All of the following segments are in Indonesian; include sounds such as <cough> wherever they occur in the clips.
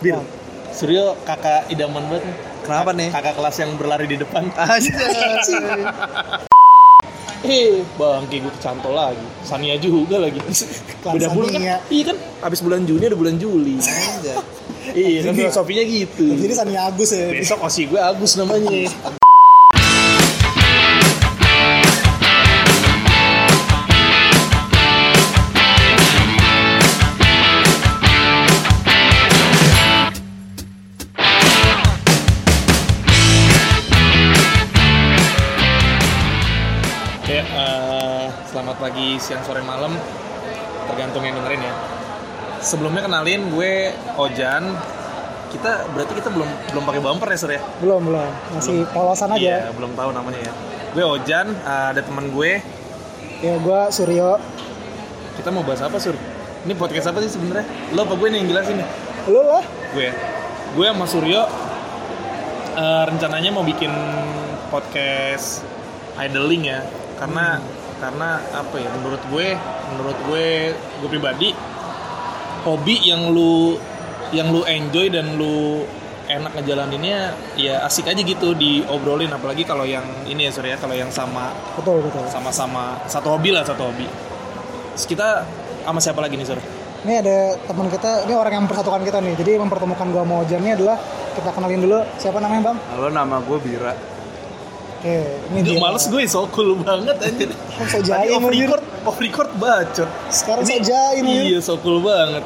Bir. Suryo kakak idaman banget nih. Kenapa nih? Kakak kelas yang berlari di depan. Anjay. Eh, bangke gue kecantol lagi. Sania juga lagi. Beda bulan kan? Sania. Iya kan? Abis bulan Juni ada bulan Juli. Anjay. iya, kan <laughs> filosofinya gitu. Jadi Sani Agus ya. Besok osi gue Agus namanya. Oke, eh, selamat pagi, siang, sore, malam. Tergantung yang dengerin ya. Sebelumnya kenalin gue Ojan. Kita berarti kita belum belum pakai bumper ya, Sur ya? Belum, belum. Masih polosan Iya, aja. belum tahu namanya ya. Gue Ojan, eh, ada teman gue. Ya gue Suryo. Kita mau bahas apa, Sur? Ini podcast apa sih sebenarnya? Lo apa gue nih yang jelasin nih? Lu lah. Gue ya. Gue sama Suryo eh, rencananya mau bikin podcast idling ya. Hmm. Karena karena apa ya? Menurut gue, menurut gue gue pribadi hobi yang lu yang lu enjoy dan lu enak ngejalaninnya ya asik aja gitu diobrolin apalagi kalau yang ini ya Surya kalau yang sama Betul, betul. sama-sama satu hobi lah satu hobi Terus kita sama siapa lagi nih sur Ini ada teman kita, ini orang yang mempersatukan kita nih. Jadi mempertemukan gua mau Ojan ini adalah kita kenalin dulu siapa namanya, Bang? Halo, nama gue Bira. Oke, ini Duh, dia. males gue so cool banget anjir Oh, Iya. so tadi jaim, off anjir. record off record bacot Sekarang Ini- saja ini. iya so cool banget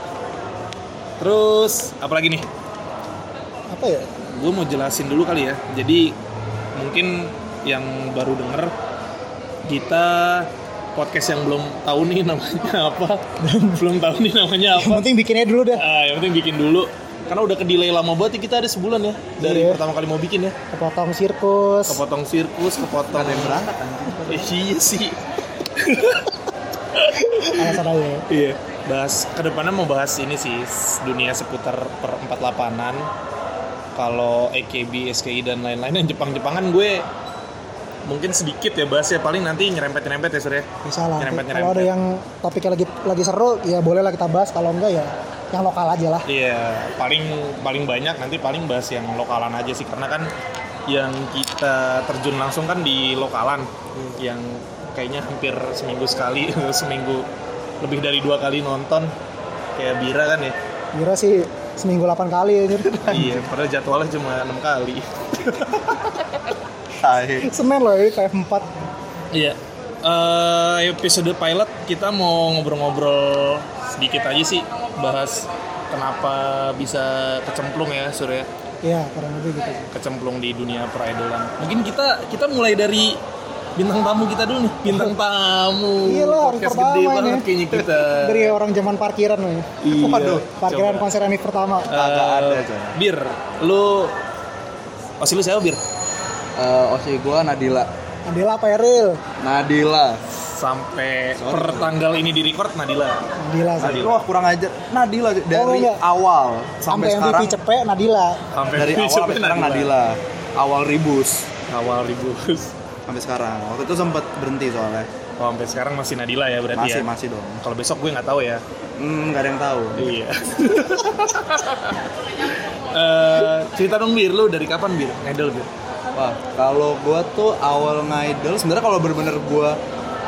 terus apalagi nih Apa ya? gue mau jelasin dulu kali ya jadi mungkin yang baru denger kita podcast yang belum tahu nih namanya <laughs> apa belum tahu nih namanya Yang apa penting bikinnya dulu dah. Ah, yang penting bikin dulu. Karena udah ke delay lama banget ya, kita ada sebulan ya dari Iya. pertama kali mau bikin ya. Kepotong sirkus. Kepotong sirkus, kepotong yang berangkat <laughs> Iya sih. Alasan aja. ya. Iya. Bahas kedepannya mau bahas ini sih s- dunia seputar per 48-an. Kalau EKB, SKI dan lain-lain yang Jepang-Jepangan gue mungkin sedikit ya bahasnya paling nanti nyerempet-nyerempet ya Surya. Bisa lah. Nyerempet, Kalau ada nyerempet. yang topiknya lagi lagi seru, ya boleh lah kita bahas. Kalau enggak ya yang lokal aja lah. Iya, paling paling banyak nanti paling bahas yang lokalan aja sih karena kan yang kita terjun langsung kan di lokalan Hmm. yang kayaknya hampir seminggu sekali <laughs> seminggu lebih dari dua kali nonton kayak Bira kan ya Kira sih seminggu 8 kali ya. iya padahal jadwalnya cuma enam kali Hai. <laughs> Semen loh, ini kayak 4 iya Eh, episode pilot kita mau ngobrol-ngobrol sedikit aja sih bahas kenapa bisa kecemplung ya Surya Ya, kurang lebih gitu. kecemplung di dunia peridolan. Mungkin kita kita mulai dari bintang tamu kita dulu nih. <laughs> Bintang tamu. Iya lah, harus Podcast pertama gede ini. banget kayaknya kita. Dari orang zaman parkiran loh. ya. Iya. Waduh, Parkiran Coba. konser Anif pertama. Kagak Eh, ada, coy. Bir, lu Oh, sih lu siapa, Bir? Eh, Osi gue Nadila. Adela Peril. Nadila. Sampai Sorry, per sorry. tanggal ini di record Nadila. Nadila sih. Nadila. Wah, kurang ajar. Nadila dari enggak. awal Sampai sampai sekarang. MVP cepet Nadila. Sampai <laughs> Dari awal sampai sekarang Nadila. Awal ribus Awal ribus. sampai sekarang. Waktu itu sempet berhenti soalnya. Oh, sampai sekarang masih Nadila ya berarti Masih ya. masih dong. Kalau besok gue nggak tahu ya. Hmm, gak ada yang tahu. <laughs> Iya. Eh, cerita dong Bir, lu dari kapan Bir? Ngedel Bir. Wah, kalau gua tuh awal ngidol sebenarnya kalau bener-bener gua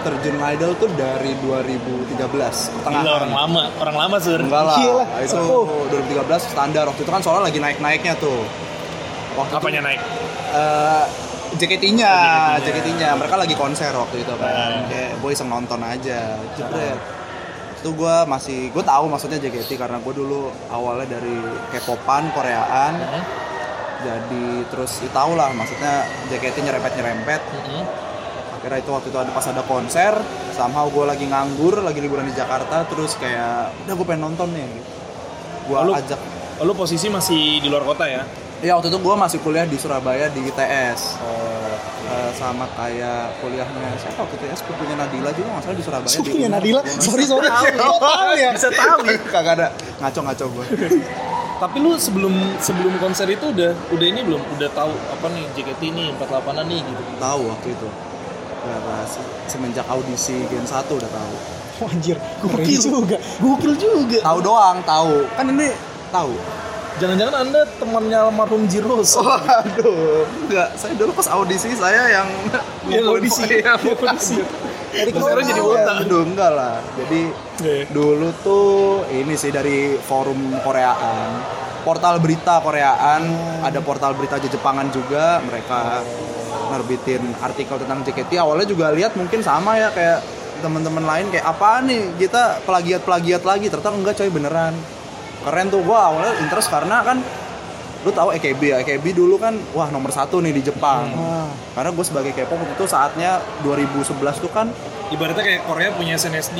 terjun ngidol tuh dari 2013 Gila pertengahan. orang lama, orang lama sur. Enggak lah, Iya lah, itu sepuh. 2013 standar waktu itu kan soalnya lagi naik-naiknya tuh. Waktu Apanya naik? JKT-nya, Oh, JKT-nya. JKT-nya. Eh, Mereka lagi konser waktu itu kan. Ah. Kayak gue iseng nonton aja. Jebret. Itu gue masih, gue tahu maksudnya JKT karena gue dulu awalnya dari K-popan, Koreaan. Jadi terus ya, tau lah maksudnya JKT nyerempet-nyerempet. Mm-mm. Akhirnya itu waktu itu ada pas ada konser, somehow gue lagi nganggur, lagi liburan di Jakarta, terus kayak udah gue pengen nonton nih. Gitu. Gue Lalu- ajak. Oh, lu posisi masih di luar kota ya? Iya waktu itu gue masih kuliah di Surabaya di ITS. Eh, sama kayak kuliahnya siapa waktu itu ya sepupunya Nadila juga nggak salah di Surabaya. <laughs> di Sepupunya Unhas. Ya, Nadila. Sorry, sorry. Gua <laughs> tahu ya. Bisa tahu <laughs> ya. Kagak ada ngaco-ngaco gue. Tapi lu sebelum sebelum konser itu udah udah ini belum udah tahu apa nih JKT ini 48 an nih gitu. tahu waktu itu. Gara-gara se- semenjak audisi Gen 1 udah tahu. Oh, anjir. Gokil juga. Gokil juga. Tahu doang, tahu. Kan ini tahu. Jangan-jangan Anda temannya almarhum Jiros. Oh, aduh, enggak. Saya dulu pas audisi saya yang Yang ngumpulin audisi, <laughs> poin. yang audisi. Jadi Terus sekarang jadi kemarin- wota. Aduh, enggak lah. Jadi Iya. dulu tuh ini sih dari forum Koreaan. Portal berita Koreaan, ada portal berita Jepangan juga, mereka nerbitin artikel tentang JKT. Awalnya juga lihat mungkin sama ya kayak teman-teman lain kayak apa nih kita plagiat-plagiat lagi ternyata enggak coy beneran keren tuh gua awalnya interest karena kan lu tahu EKB ya EKB dulu kan wah nomor satu nih di Jepang Ah. karena gue sebagai K-pop waktu itu saatnya 2011 tuh kan Ibaratnya kayak Korea punya SNSD.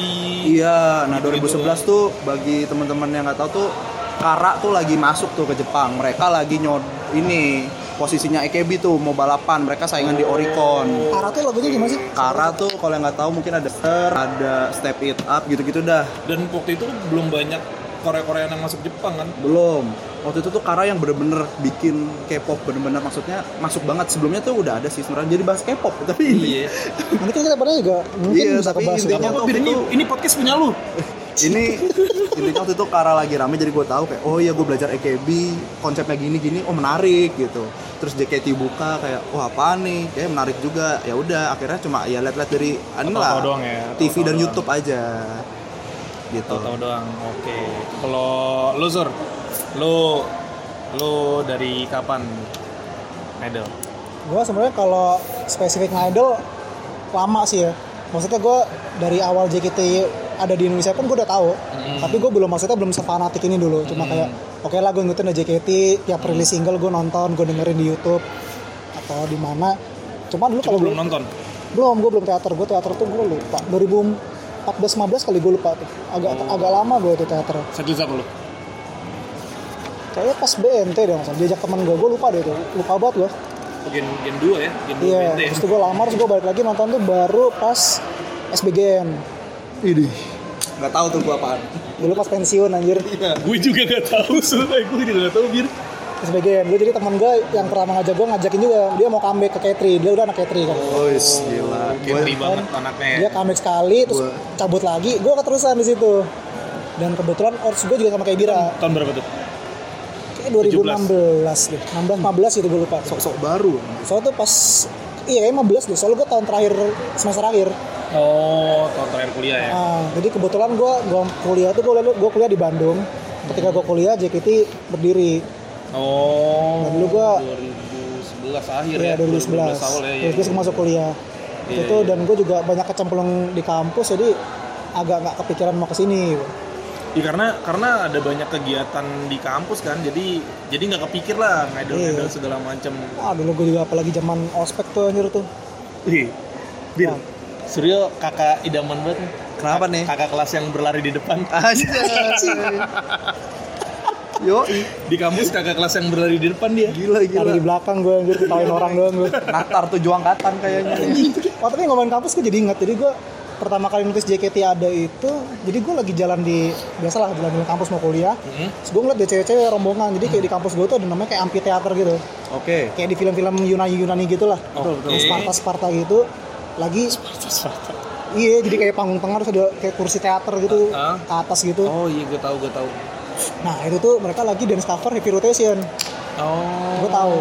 iya nah Gitu-gitu 2011 tuh bagi teman-teman yang nggak tahu tuh Kara tuh lagi masuk tuh ke Jepang mereka lagi nyod ini posisinya EKB tuh mau balapan mereka saingan di Oricon Ara tuh lagunya gimana sih? Kara tuh kalau yang nggak tahu mungkin ada Stir, ada Step It Up gitu-gitu dah Dan waktu itu belum banyak Korea-Koreaan yang masuk Jepang kan. belum waktu itu tuh Kara yang bener-bener bikin K-pop bener-bener maksudnya masuk banget sebelumnya tuh udah ada sih sebenarnya jadi bahas K-pop tapi ini Iya. Nanti kita pada juga mungkin Iya, bisa tapi kebahas juga. intinya- Apa bedanya Waktu itu- Oh, ini podcast punya lu? ini intinya waktu itu Kara lagi rame jadi gue tahu kayak oh iya gue belajar EKB konsepnya gini gini oh menarik gitu terus JKT buka kayak wah apaan nih kayak menarik juga ya udah akhirnya cuma ya liat-liat dari anu Tahu-tahu lah doang ya, TV tahu-tahu dan doang. YouTube aja gitu Tahu-tahu doang. Oke. Kalau lu Zur, lu lu dari kapan idol? Gue sebenarnya kalau spesifik idol lama sih ya. Maksudnya gue dari awal JKT ada di Indonesia pun gue udah tahu, Hmm. tapi gue belum maksudnya belum sefanatik ini dulu. Cuma kayak oke lah gue ngikutin aja JKT, tiap rilis single gue nonton, gue dengerin di YouTube atau di mana. Cuma dulu Cuma kalau belum belum nonton. belum gue belum teater gue teater tuh gue lupa 2014 15 kali gue lupa tuh agak agak lama gue tuh teater Satu satu lu. kayaknya pas BNT deh maksudnya diajak teman gue gue lupa deh tuh lupa banget gue Gen gen 2 ya, gen 2 Iya, terus tuh gue lamar, terus gue balik lagi nonton tuh baru pas SBGN. ini nggak tahu tuh gue apaan Dulu pas pensiun anjir, Gue juga gak tahu, sumpah gue juga gak tahu bir. SBGN. Dulu jadi teman gue yang pertama ngajak gue ngajakin juga, dia mau comeback ke K3, dia udah anak K3 kan. oh is, gila Gentri gue banget anaknya. ya? Dia comeback sekali, terus Gua- cabut lagi, gue keterusan di situ. Dan kebetulan Ors gue juga sama kayak Bira, Tahun berapa tuh? kayaknya 2016 deh, 16 15 gitu gue lupa. So- sok baru Soalnya tuh pas Iya kayaknya 15 deh, soalnya gue tahun terakhir, semester akhir Oh, tahun terakhir kuliah Iya. ya. Ah, jadi kebetulan gue gua kuliah tuh gue gua kuliah di Bandung. Ketika gue kuliah JKT berdiri. Oh. Nah, dulu gua- 2011 akhir ya. Iya 2011. 2011 awal ya. Terus gue masuk kuliah. Iya, itu iya. dan gue juga banyak kecemplung di kampus jadi agak nggak kepikiran mau kesini. Ya, karena karena ada banyak kegiatan di kampus kan, jadi jadi nggak kepikir lah Iya. ngidol-ngidol segala macam. Ah dulu gue juga apalagi zaman ospek tuh anjir tuh. Ih, Iya. Bir, Wah. Suryo kakak idaman banget nih. Kenapa nih? Kakak kelas yang berlari di depan. aja yo Di kampus kakak kelas yang berlari di depan dia. Ada gila di gila belakang gue anjir ketawain orang doang gue. Natar tujuh angkatan kayaknya Oh tapi ngomongin kampus gue jadi ingat. Jadi gue pertama kali notice JKT ada itu, jadi gue lagi jalan di biasalah jalan di kampus mau kuliah. Hmm. Terus gue ngeliat ada cewek-cewek rombongan, jadi kayak di kampus gue tuh ada namanya kayak amphitheater gitu. Oke. Kayak di film-film Yunani-Yunani gitu lah. Oke. Yang Sparta-Sparta gitu. Lagi Iya, jadi kayak panggung tengah terus ada kayak kursi teater gitu Ah. ke atas gitu. Oh iya, gue tahu, gue tahu. Nah, itu tuh mereka lagi dance cover Happy Rotation. Oh. Gue tahu.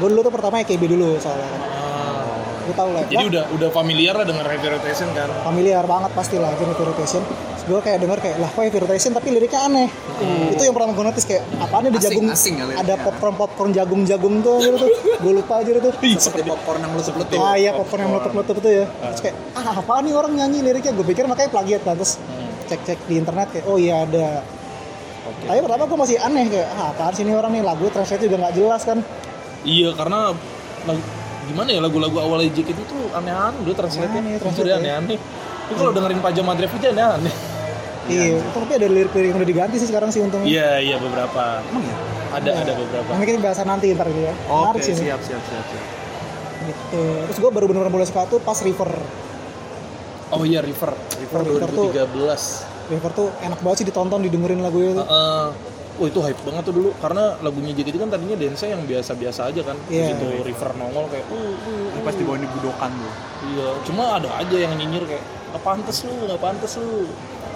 Gue dulu tuh pertama EKB dulu soalnya. Ah. Gue tahu lah. Jadi Wah, udah udah familiar lah dengan Heavy Rotation kan. familiar banget pasti lah dengan Happy Rotation. Terus gue kayak denger kayak lah kok Happy Rotation tapi liriknya aneh. Hmm. Itu yang pertama gue notice kayak apaan nih ada Asing- jagung asing ya liriknya. ada popcorn popcorn jagung jagung tuh gitu tuh. Gue lupa aja tuh. Seperti popcorn yang lu sebelum Ah iya popcorn yang meletup-meletup tuh ya. Terus kayak ah apaan nih orang nyanyi liriknya? Gue pikir makanya plagiat kan. Terus cek-cek di internet kayak oh iya ada. Tapi pertama gue masih aneh kayak ah apaan sih ini orang nih lagu translate juga nggak jelas kan. Iya karena lagu- gimana ya lagu-lagu awal JKT itu aneh-aneh udah translate Aneh, nya translate Jadi ya. aneh-aneh. Itu kalau dengerin Pajama Drive aja aneh-aneh. Iya, tapi ada lirik-lirik yang udah diganti sih sekarang sih untungnya. Iya iya beberapa. Emang ya? Ada ada beberapa. Nanti kita bahasa nanti ntar gitu ya. Oke, Menarik sih ini. siap, siap, siap, siap. Gitu. Terus gue baru bener-bener mulai suka tuh pas River. Oh iya River. River River tuh- 2013. River tuh enak banget sih ditonton, didengerin lagunya tuh. Heeh. Oh itu hype banget tuh dulu karena lagunya JKT kan tadinya dance yang biasa-biasa aja kan. Iya. Gitu River nongol kayak uh, uh, Ini pas dibawain di budokan tuh. iya. Cuma ada aja yang nyinyir kayak nggak pantas lu, nggak pantas lu.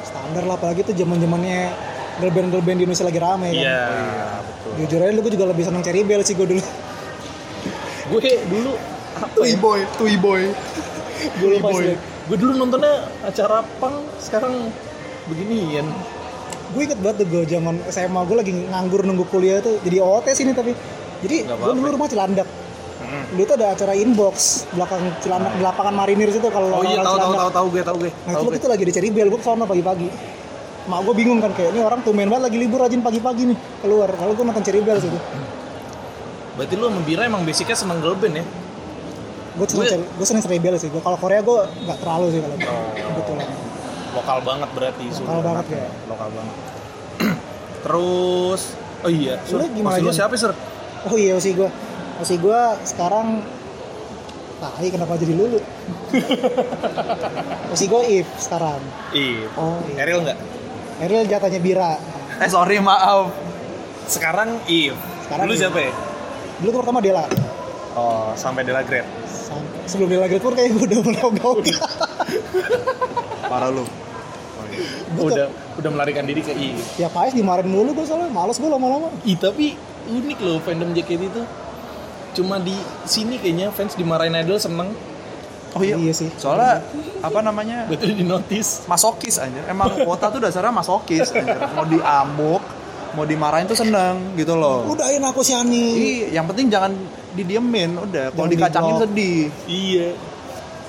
Standar lah apalagi tuh zaman zamannya girl band girl band di Indonesia lagi rame kan. Iya. Jujur aja dulu gue juga lebih seneng Cherry Bell sih gue dulu. <laughs> Gue dulu apa Tui ya? boy, tui boy. Gue lupa sih. Gue dulu nontonnya acara pang sekarang beginian. Gue inget banget tuh gue zaman SMA gue lagi nganggur nunggu kuliah tuh jadi OOT sini tapi. Jadi Nggak gue apa-apa. dulu rumah Cilandak. Hmm. Dulu tuh ada acara inbox belakang Cilandak di lapangan Marinir situ kalau Oh orang-orang iya, tahu tahu Cilandak. tahu tahu gue, tahu gue. Nah tahu itu waktu gue. itu lagi di Cherry Bell, gue kesana pagi-pagi Mak gue bingung kan, kayak ini orang tumen banget lagi libur rajin pagi-pagi nih Keluar, kalau gue nonton Cherry Bell situ Berarti lu sama Bira emang basicnya seneng girl band ya? Gue seneng, Gue- Cherry- gue seneng Cherry Bell sih, Gua kalau Korea gue gak terlalu sih kalau Oh. gue Kebetulan Lokal banget berarti. Kalau banget ya Lokal banget. <clears throat> Terus, oh iya, Sur, Lu gimana, maksud lu Jan? siapa Sur? Oh iya sih gue Masih gue sekarang Tai, kenapa jadi <laughs> lulu? Masih gue If sekarang Iya. Oh iya Eril nggak? Eril jatahnya Bira Eh sorry maaf. Sekarang If. Sekarang dulu If. siapa ya? Dulu gue pertama Dela Oh, sampai Dela Grab. Sampai- Sebelum Dela Great pun kayaknya gue udah melogok Parah lu. Udah udah melarikan diri ke If. <laughs> Ya Pais dimarin mulu gue soalnya, males gue lama-lama Ih, tapi unik loh fandom JKT itu. Cuma di sini kayaknya fans dimarahin idol seneng, Oh iya. Iya sih. Soalnya apa namanya? betul di notice. Masokis anjir. Emang kota tuh dasarnya masokis anjir. Mau diamuk, mau dimarahin tuh seneng gitu loh. Udahin ya, aku si Ani. Iya, yang penting jangan didiemin udah. Jangan Kalau dikacangin diblok. sedih. Iya.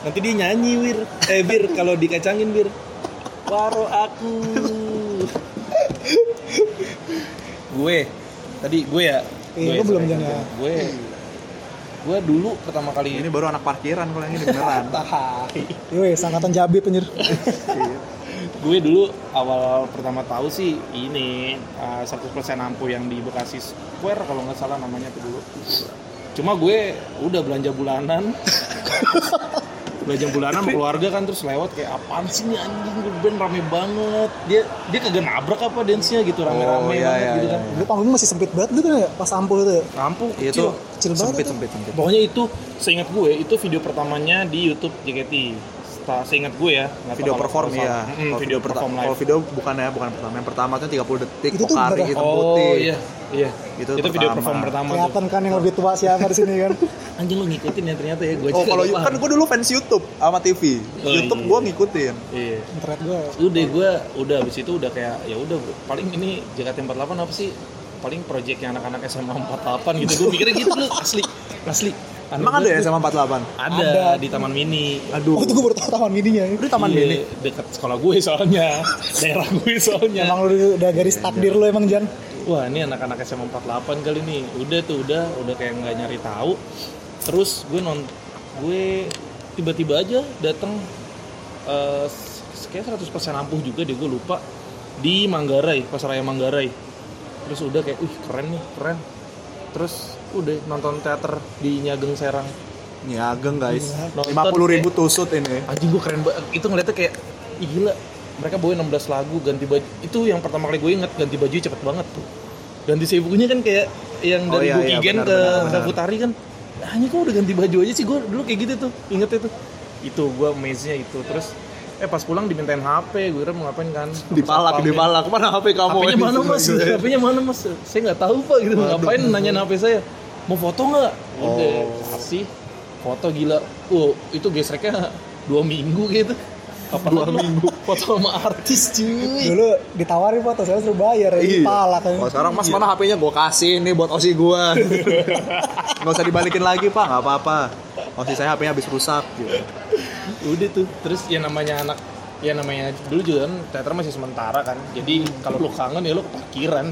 Nanti dia nyanyi wir. Eh bir kalau dikacangin bir. Waro aku. gue tadi gue ya. Iya, gue belum, Jan, jangan ya. Gue gue dulu pertama kali Ini baru anak parkiran kalau yang ini beneran. Tai. Yoi, sangkatan jabi penyer. Iya. gue dulu awal pertama tahu sih ini uh, 100% ampu yang di Bekasi Square kalau nggak salah namanya tuh dulu. Cuma gue udah belanja <laughs> bulanan. belanja bulanan sama keluarga kan terus lewat kayak apaan sih nih anjing gue band rame banget. Dia dia kagak nabrak apa dance-nya gitu rame-rame Oh, iya, banget iya, gitu iya, kan. Dulu panggungnya masih sempit banget dulu kan ya, pas ampuh itu ya. Lampu Iya kecil. tuh kecil banget sempit itu. sempit sempit. Pokoknya itu seingat gue itu video pertamanya di YouTube JKT. Seta- Seingat gue ya. nggak tahu Video kalau- perform kalau ya. salah. Mm, video perform live. Kalau video bukan ya, bukan pertama. Yang pertama tuh 30 detik, Itu tuh pokari bener- hitam putih. Oh iya, iya. Itu video pertama. perform pertama tuh. Kelihatan kan yang lebih tua siapa di sini kan. Anjing lu ngikutin ya ternyata ya gue Oh, kalau kan gue dulu fans YouTube sama TV. Oh, YouTube iya. gue ngikutin. Iya. Internet gue. Udah gue udah habis itu udah kayak ya udah gua- paling ini JKT48 apa sih? Paling project yang anak-anak SMA 48 gitu. Gue mikirnya gitu lu asli. Asli. Aneh Emang ada ya banget gua. sama 48? Ada, Ada. di Taman Mini. Aduh. Oh itu gue baru tau taman mininya. Itu taman Iya, mini. dekat sekolah gue soalnya. <laughs> Daerah gue soalnya. Emang lu udah garis takdir lu emang Jan. Wah ini anak-anak SMA 48 kali nih Udah tuh udah Udah kayak nggak nyari tahu Terus gue non Gue tiba-tiba aja datang eh Kayak 100% ampuh juga deh gue lupa Di Manggarai Pasar Raya Manggarai Terus udah kayak Wih keren nih keren Terus udah nonton teater di Nyageng Serang Nih ageng guys. Iya, Nonton ya. Lima puluh ribu tusut ini. Anjing gue keren banget Itu ngeliatnya kayak Ih gila Mereka bawain 16 lagu ganti baju Itu yang pertama kali gue inget Ganti bajunya cepet banget tuh Ganti sibuknya kan kayak Yang Oh dari iya, iya, Bukigen benar, ke benar, benar. Saputari kan Hanya kok udah ganti baju aja sih Gue dulu kayak gitu tuh Ingetnya tuh Itu gue amaze-nya itu Terus Eh pas pulang dimintain HP Gue kira mau ngapain kan Dipalak, dipalak. Mana HP kamu? HPnya Ini mana semua mas? gitu ya. HPnya mana mas? Saya nggak tahu pak gitu Waduh. Ngapain nanyain HP saya Mau foto nggak? Udah Oh. kasih Foto gila Wow itu gesreknya dua minggu gitu Kapan Dua lagi lah? minggu. <laughs> Foto sama artis cuy Dulu ditawarin foto saya suruh bayar ya. Iya. Pala kan. Kalau sekarang mas mana HP-nya gue kasih nih buat osi gue. <laughs> Gak usah dibalikin lagi pak, nggak apa-apa. Osi saya HP-nya habis rusak. Gitu. Udah tuh Terus yang namanya anak Ya namanya dulu juga kan teater masih sementara kan Jadi kalau lu kangen ya lu ke parkiran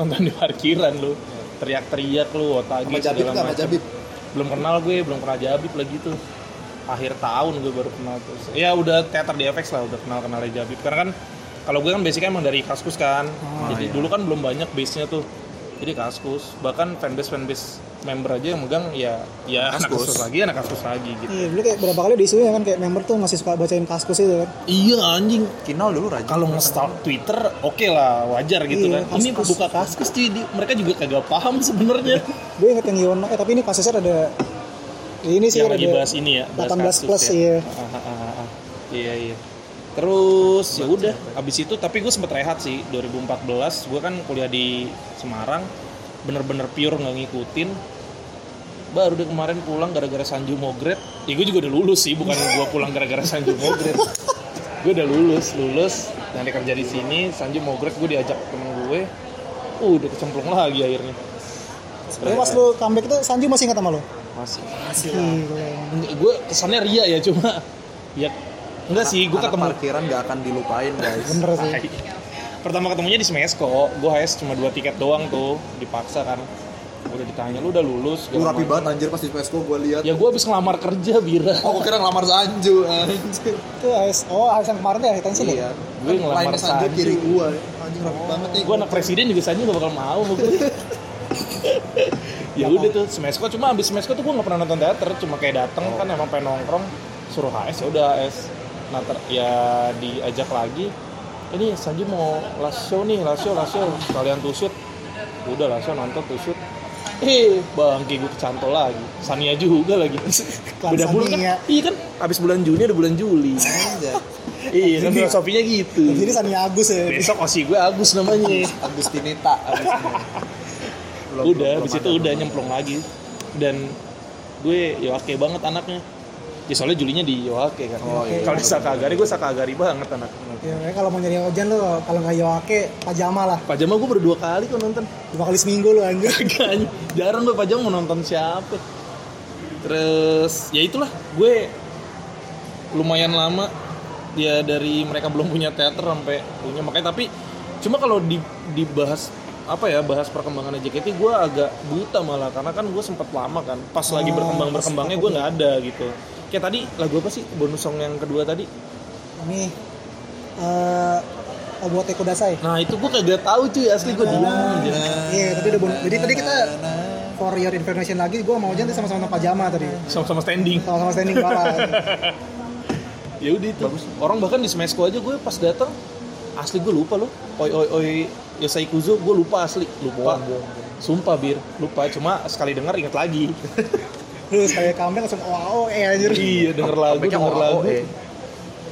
Nonton di parkiran lu Teriak-teriak lu Otage segala macam belum kenal gue belum pernah Jabib lagi tuh akhir tahun gue baru kenal terus ya udah teater di FX lah udah kenal kenal Jabib karena kan kalau gue kan basicnya emang dari Kaskus kan jadi dulu kan belum banyak base nya tuh jadi Kaskus bahkan fanbase fanbase member aja yang megang ya ya anak Kaskus. Kaskus lagi anak Kaskus lagi gitu Iya, dulu kayak berapa kali di isunya kan kayak member tuh masih suka bacain kaskus itu kan. iya anjing Kinal dulu raja. kalau nge-stalk Twitter oke lah wajar gitu Iya, kan ini Kaskus. buka Kaskus cuy di- mereka juga kagak paham <laughs> sebenarnya Gue inget yang Yona, eh tapi ini kasusnya ada ini sih yang ada lagi bahas ini ya bahas 18 kasus iya. plus, ya. iya. Ah, ah, ah, ah. iya iya Terus ya udah, abis itu tapi gue sempet rehat sih 2014. Gue kan kuliah di Semarang, bener-bener pure nggak ngikutin. Baru deh kemarin pulang gara-gara Sanju Mogret. Ya gue juga udah lulus sih, bukan gue pulang gara-gara Sanju Mogret. gue udah lulus, lulus nanti kerja di sini. Sanju Mogret gue diajak temen gue. Uh, udah kecemplung lagi akhirnya. Tapi pas lu comeback tuh Sanju masih ingat sama lu? masih Gila. Gue kesannya ria ya cuma ya enggak sih gue Anak ketemu <laughs> Iya, parkiran gak akan dilupain guys Bener sih. Tai. Pertama ketemunya di Smesko, gue HS cuma dua tiket doang tuh, dipaksa kan. Udah ditanya, lu udah lulus? lu segala rapi macam." banget anjir pas di PSK gue lihat Ya gue habis ngelamar kerja, Bira. oh gue kira ngelamar Sanju anjir Itu AS, oh AS yang kemarin tuh ya retensi iya ya? Gue ngelamar Lainnya Sanju Sanju. kiri gue anjir rapi banget nih Gue anak presiden juga saja gak bakal mau <laughs> sama gue. ya udah tuh Smesko cuma habis Smesko tuh gue nggak pernah nonton teater cuma kayak dateng kan emang pengen nongkrong suruh HS ya udah HS nah ter- ya diajak lagi ini Sanji mau last show nih last show last show kalian tusut udah last show nonton tusut eh bangke gue kecantol lagi Sania juga lagi beda bulan kan Sania. iya kan abis bulan Juni ada bulan Juli anjir iya kan filosofinya gitu Jadi Sania Agus ya. besok osi gue Agus namanya Agustinita Agustinita. Belum- <laughs> udah belum- habis itu belum ada, udah belum nyemplung lagi dan gue yoake banget anaknya ya soalnya Julinya di yoake kan Oh, iya. kalau di sakagari gue sakagari banget anak Ya, makanya kalau mau nyari Ojan lu, kalau nggak Yoake, pajama lah. pajama gue berdua kali kok nonton Dua kali seminggu lu anjir. Kagak, jarang gue pajama mau nonton siapa terus ya itulah gue lumayan lama ya dari mereka belum punya teater sampai punya makanya tapi cuma kalau di- dibahas apa ya bahas perkembangan JKT gue agak buta malah karena kan gue sempet lama kan pas lagi Oh, berkembang berkembangnya gue nggak ada gitu kayak tadi lagu apa sih bonus song yang kedua tadi Ini eh Obote Kudasai. nah itu gue kagak tahu cuy asli gue Ah, diam aja Iya, tadi udah bon- Jadi tadi kita for your information lagi, gue sama Ojan tuh sama-sama nonton pajama tadi. sama-sama standing Sama-sama standing bawah. ya udah itu orang bahkan di Smesco aja gue pas datang asli gue lupa loh oi oi oi Yosai Kuzo gue lupa asli lupa sumpah bir lupa cuma sekali denger inget lagi <laughs> Terus kayak comeback langsung wow, eh anjir. iya denger lagu Comebacknya denger OAOE. lagu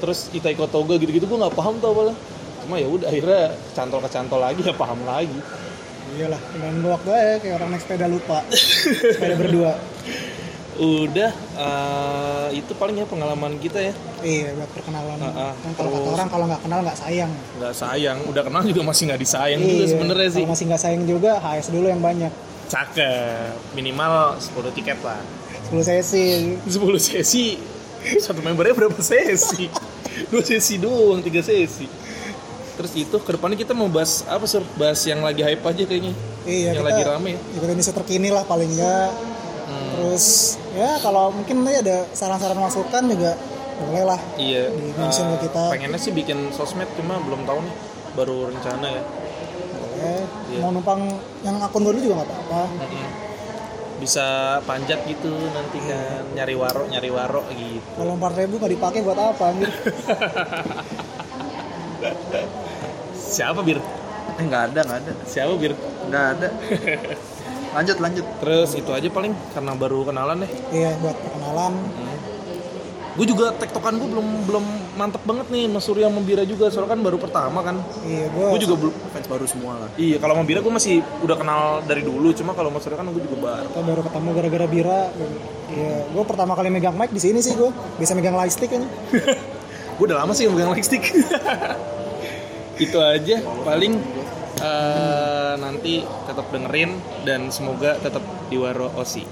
terus Itai Kotoga gitu-gitu gue nggak paham tau apalah cuma ya udah akhirnya cantol kecantol lagi ya paham lagi Iyalah, dengan gua waktu aja kayak orang naik sepeda lupa. sepeda berdua. udah eh, itu paling ya pengalaman kita ya Iya, buat perkenalan. Ah, ah, Kan kalau kata terus. orang kalau nggak kenal nggak sayang. nggak sayang udah kenal juga masih nggak disayang juga Iya, sebenarnya sih Kalau masih nggak sayang juga, HS dulu yang banyak. cakep minimal 10 tiket lah Sebelum saya sih 10 sesi satu membernya berapa sesi dua sesi doang tiga sesi terus itu kedepannya kita mau bahas apa sur bahas yang lagi hype aja kayaknya yang Iya, kita- lagi rame Hmm. ya ikutin isu terkini lah paling nggak. Terus ya kalau mungkin nanti ada saran-saran masukan juga boleh lah. iya Di mention ke eh, kita. pengennya sih bikin sosmed cuma belum tahu nih baru rencana ya Boleh. Iya. Mau numpang yang akun dulu juga nggak apa-apa. Mm-mm. bisa panjat gitu nanti kan nyari warok nyari warok gitu Kalau 4000 ribu nggak dipakai buat <laughs> apa? Anjir? siapa bir Eh, nggak ada nggak ada siapa bir nggak <laughs> ada lanjut lanjut terus itu aja paling karena baru kenalan deh iya buat perkenalan. gue juga tektokan gue belum belum mantep banget nih Mas Surya sama Bira juga soalnya kan baru pertama kan Iya gue. gue juga belum fans baru semua lah iya kalau sama Bira gue masih udah kenal dari dulu cuma kalau Mas Surya kan gue juga baru Kita baru ketemu gara-gara bira. Iya, gue pertama kali megang mic di sini sih gue. Bisa megang lightstick kan? gue udah lama sih nggak megang lightstick <laughs> itu aja paling eh, nanti tetap dengerin dan semoga tetap di Waro Osi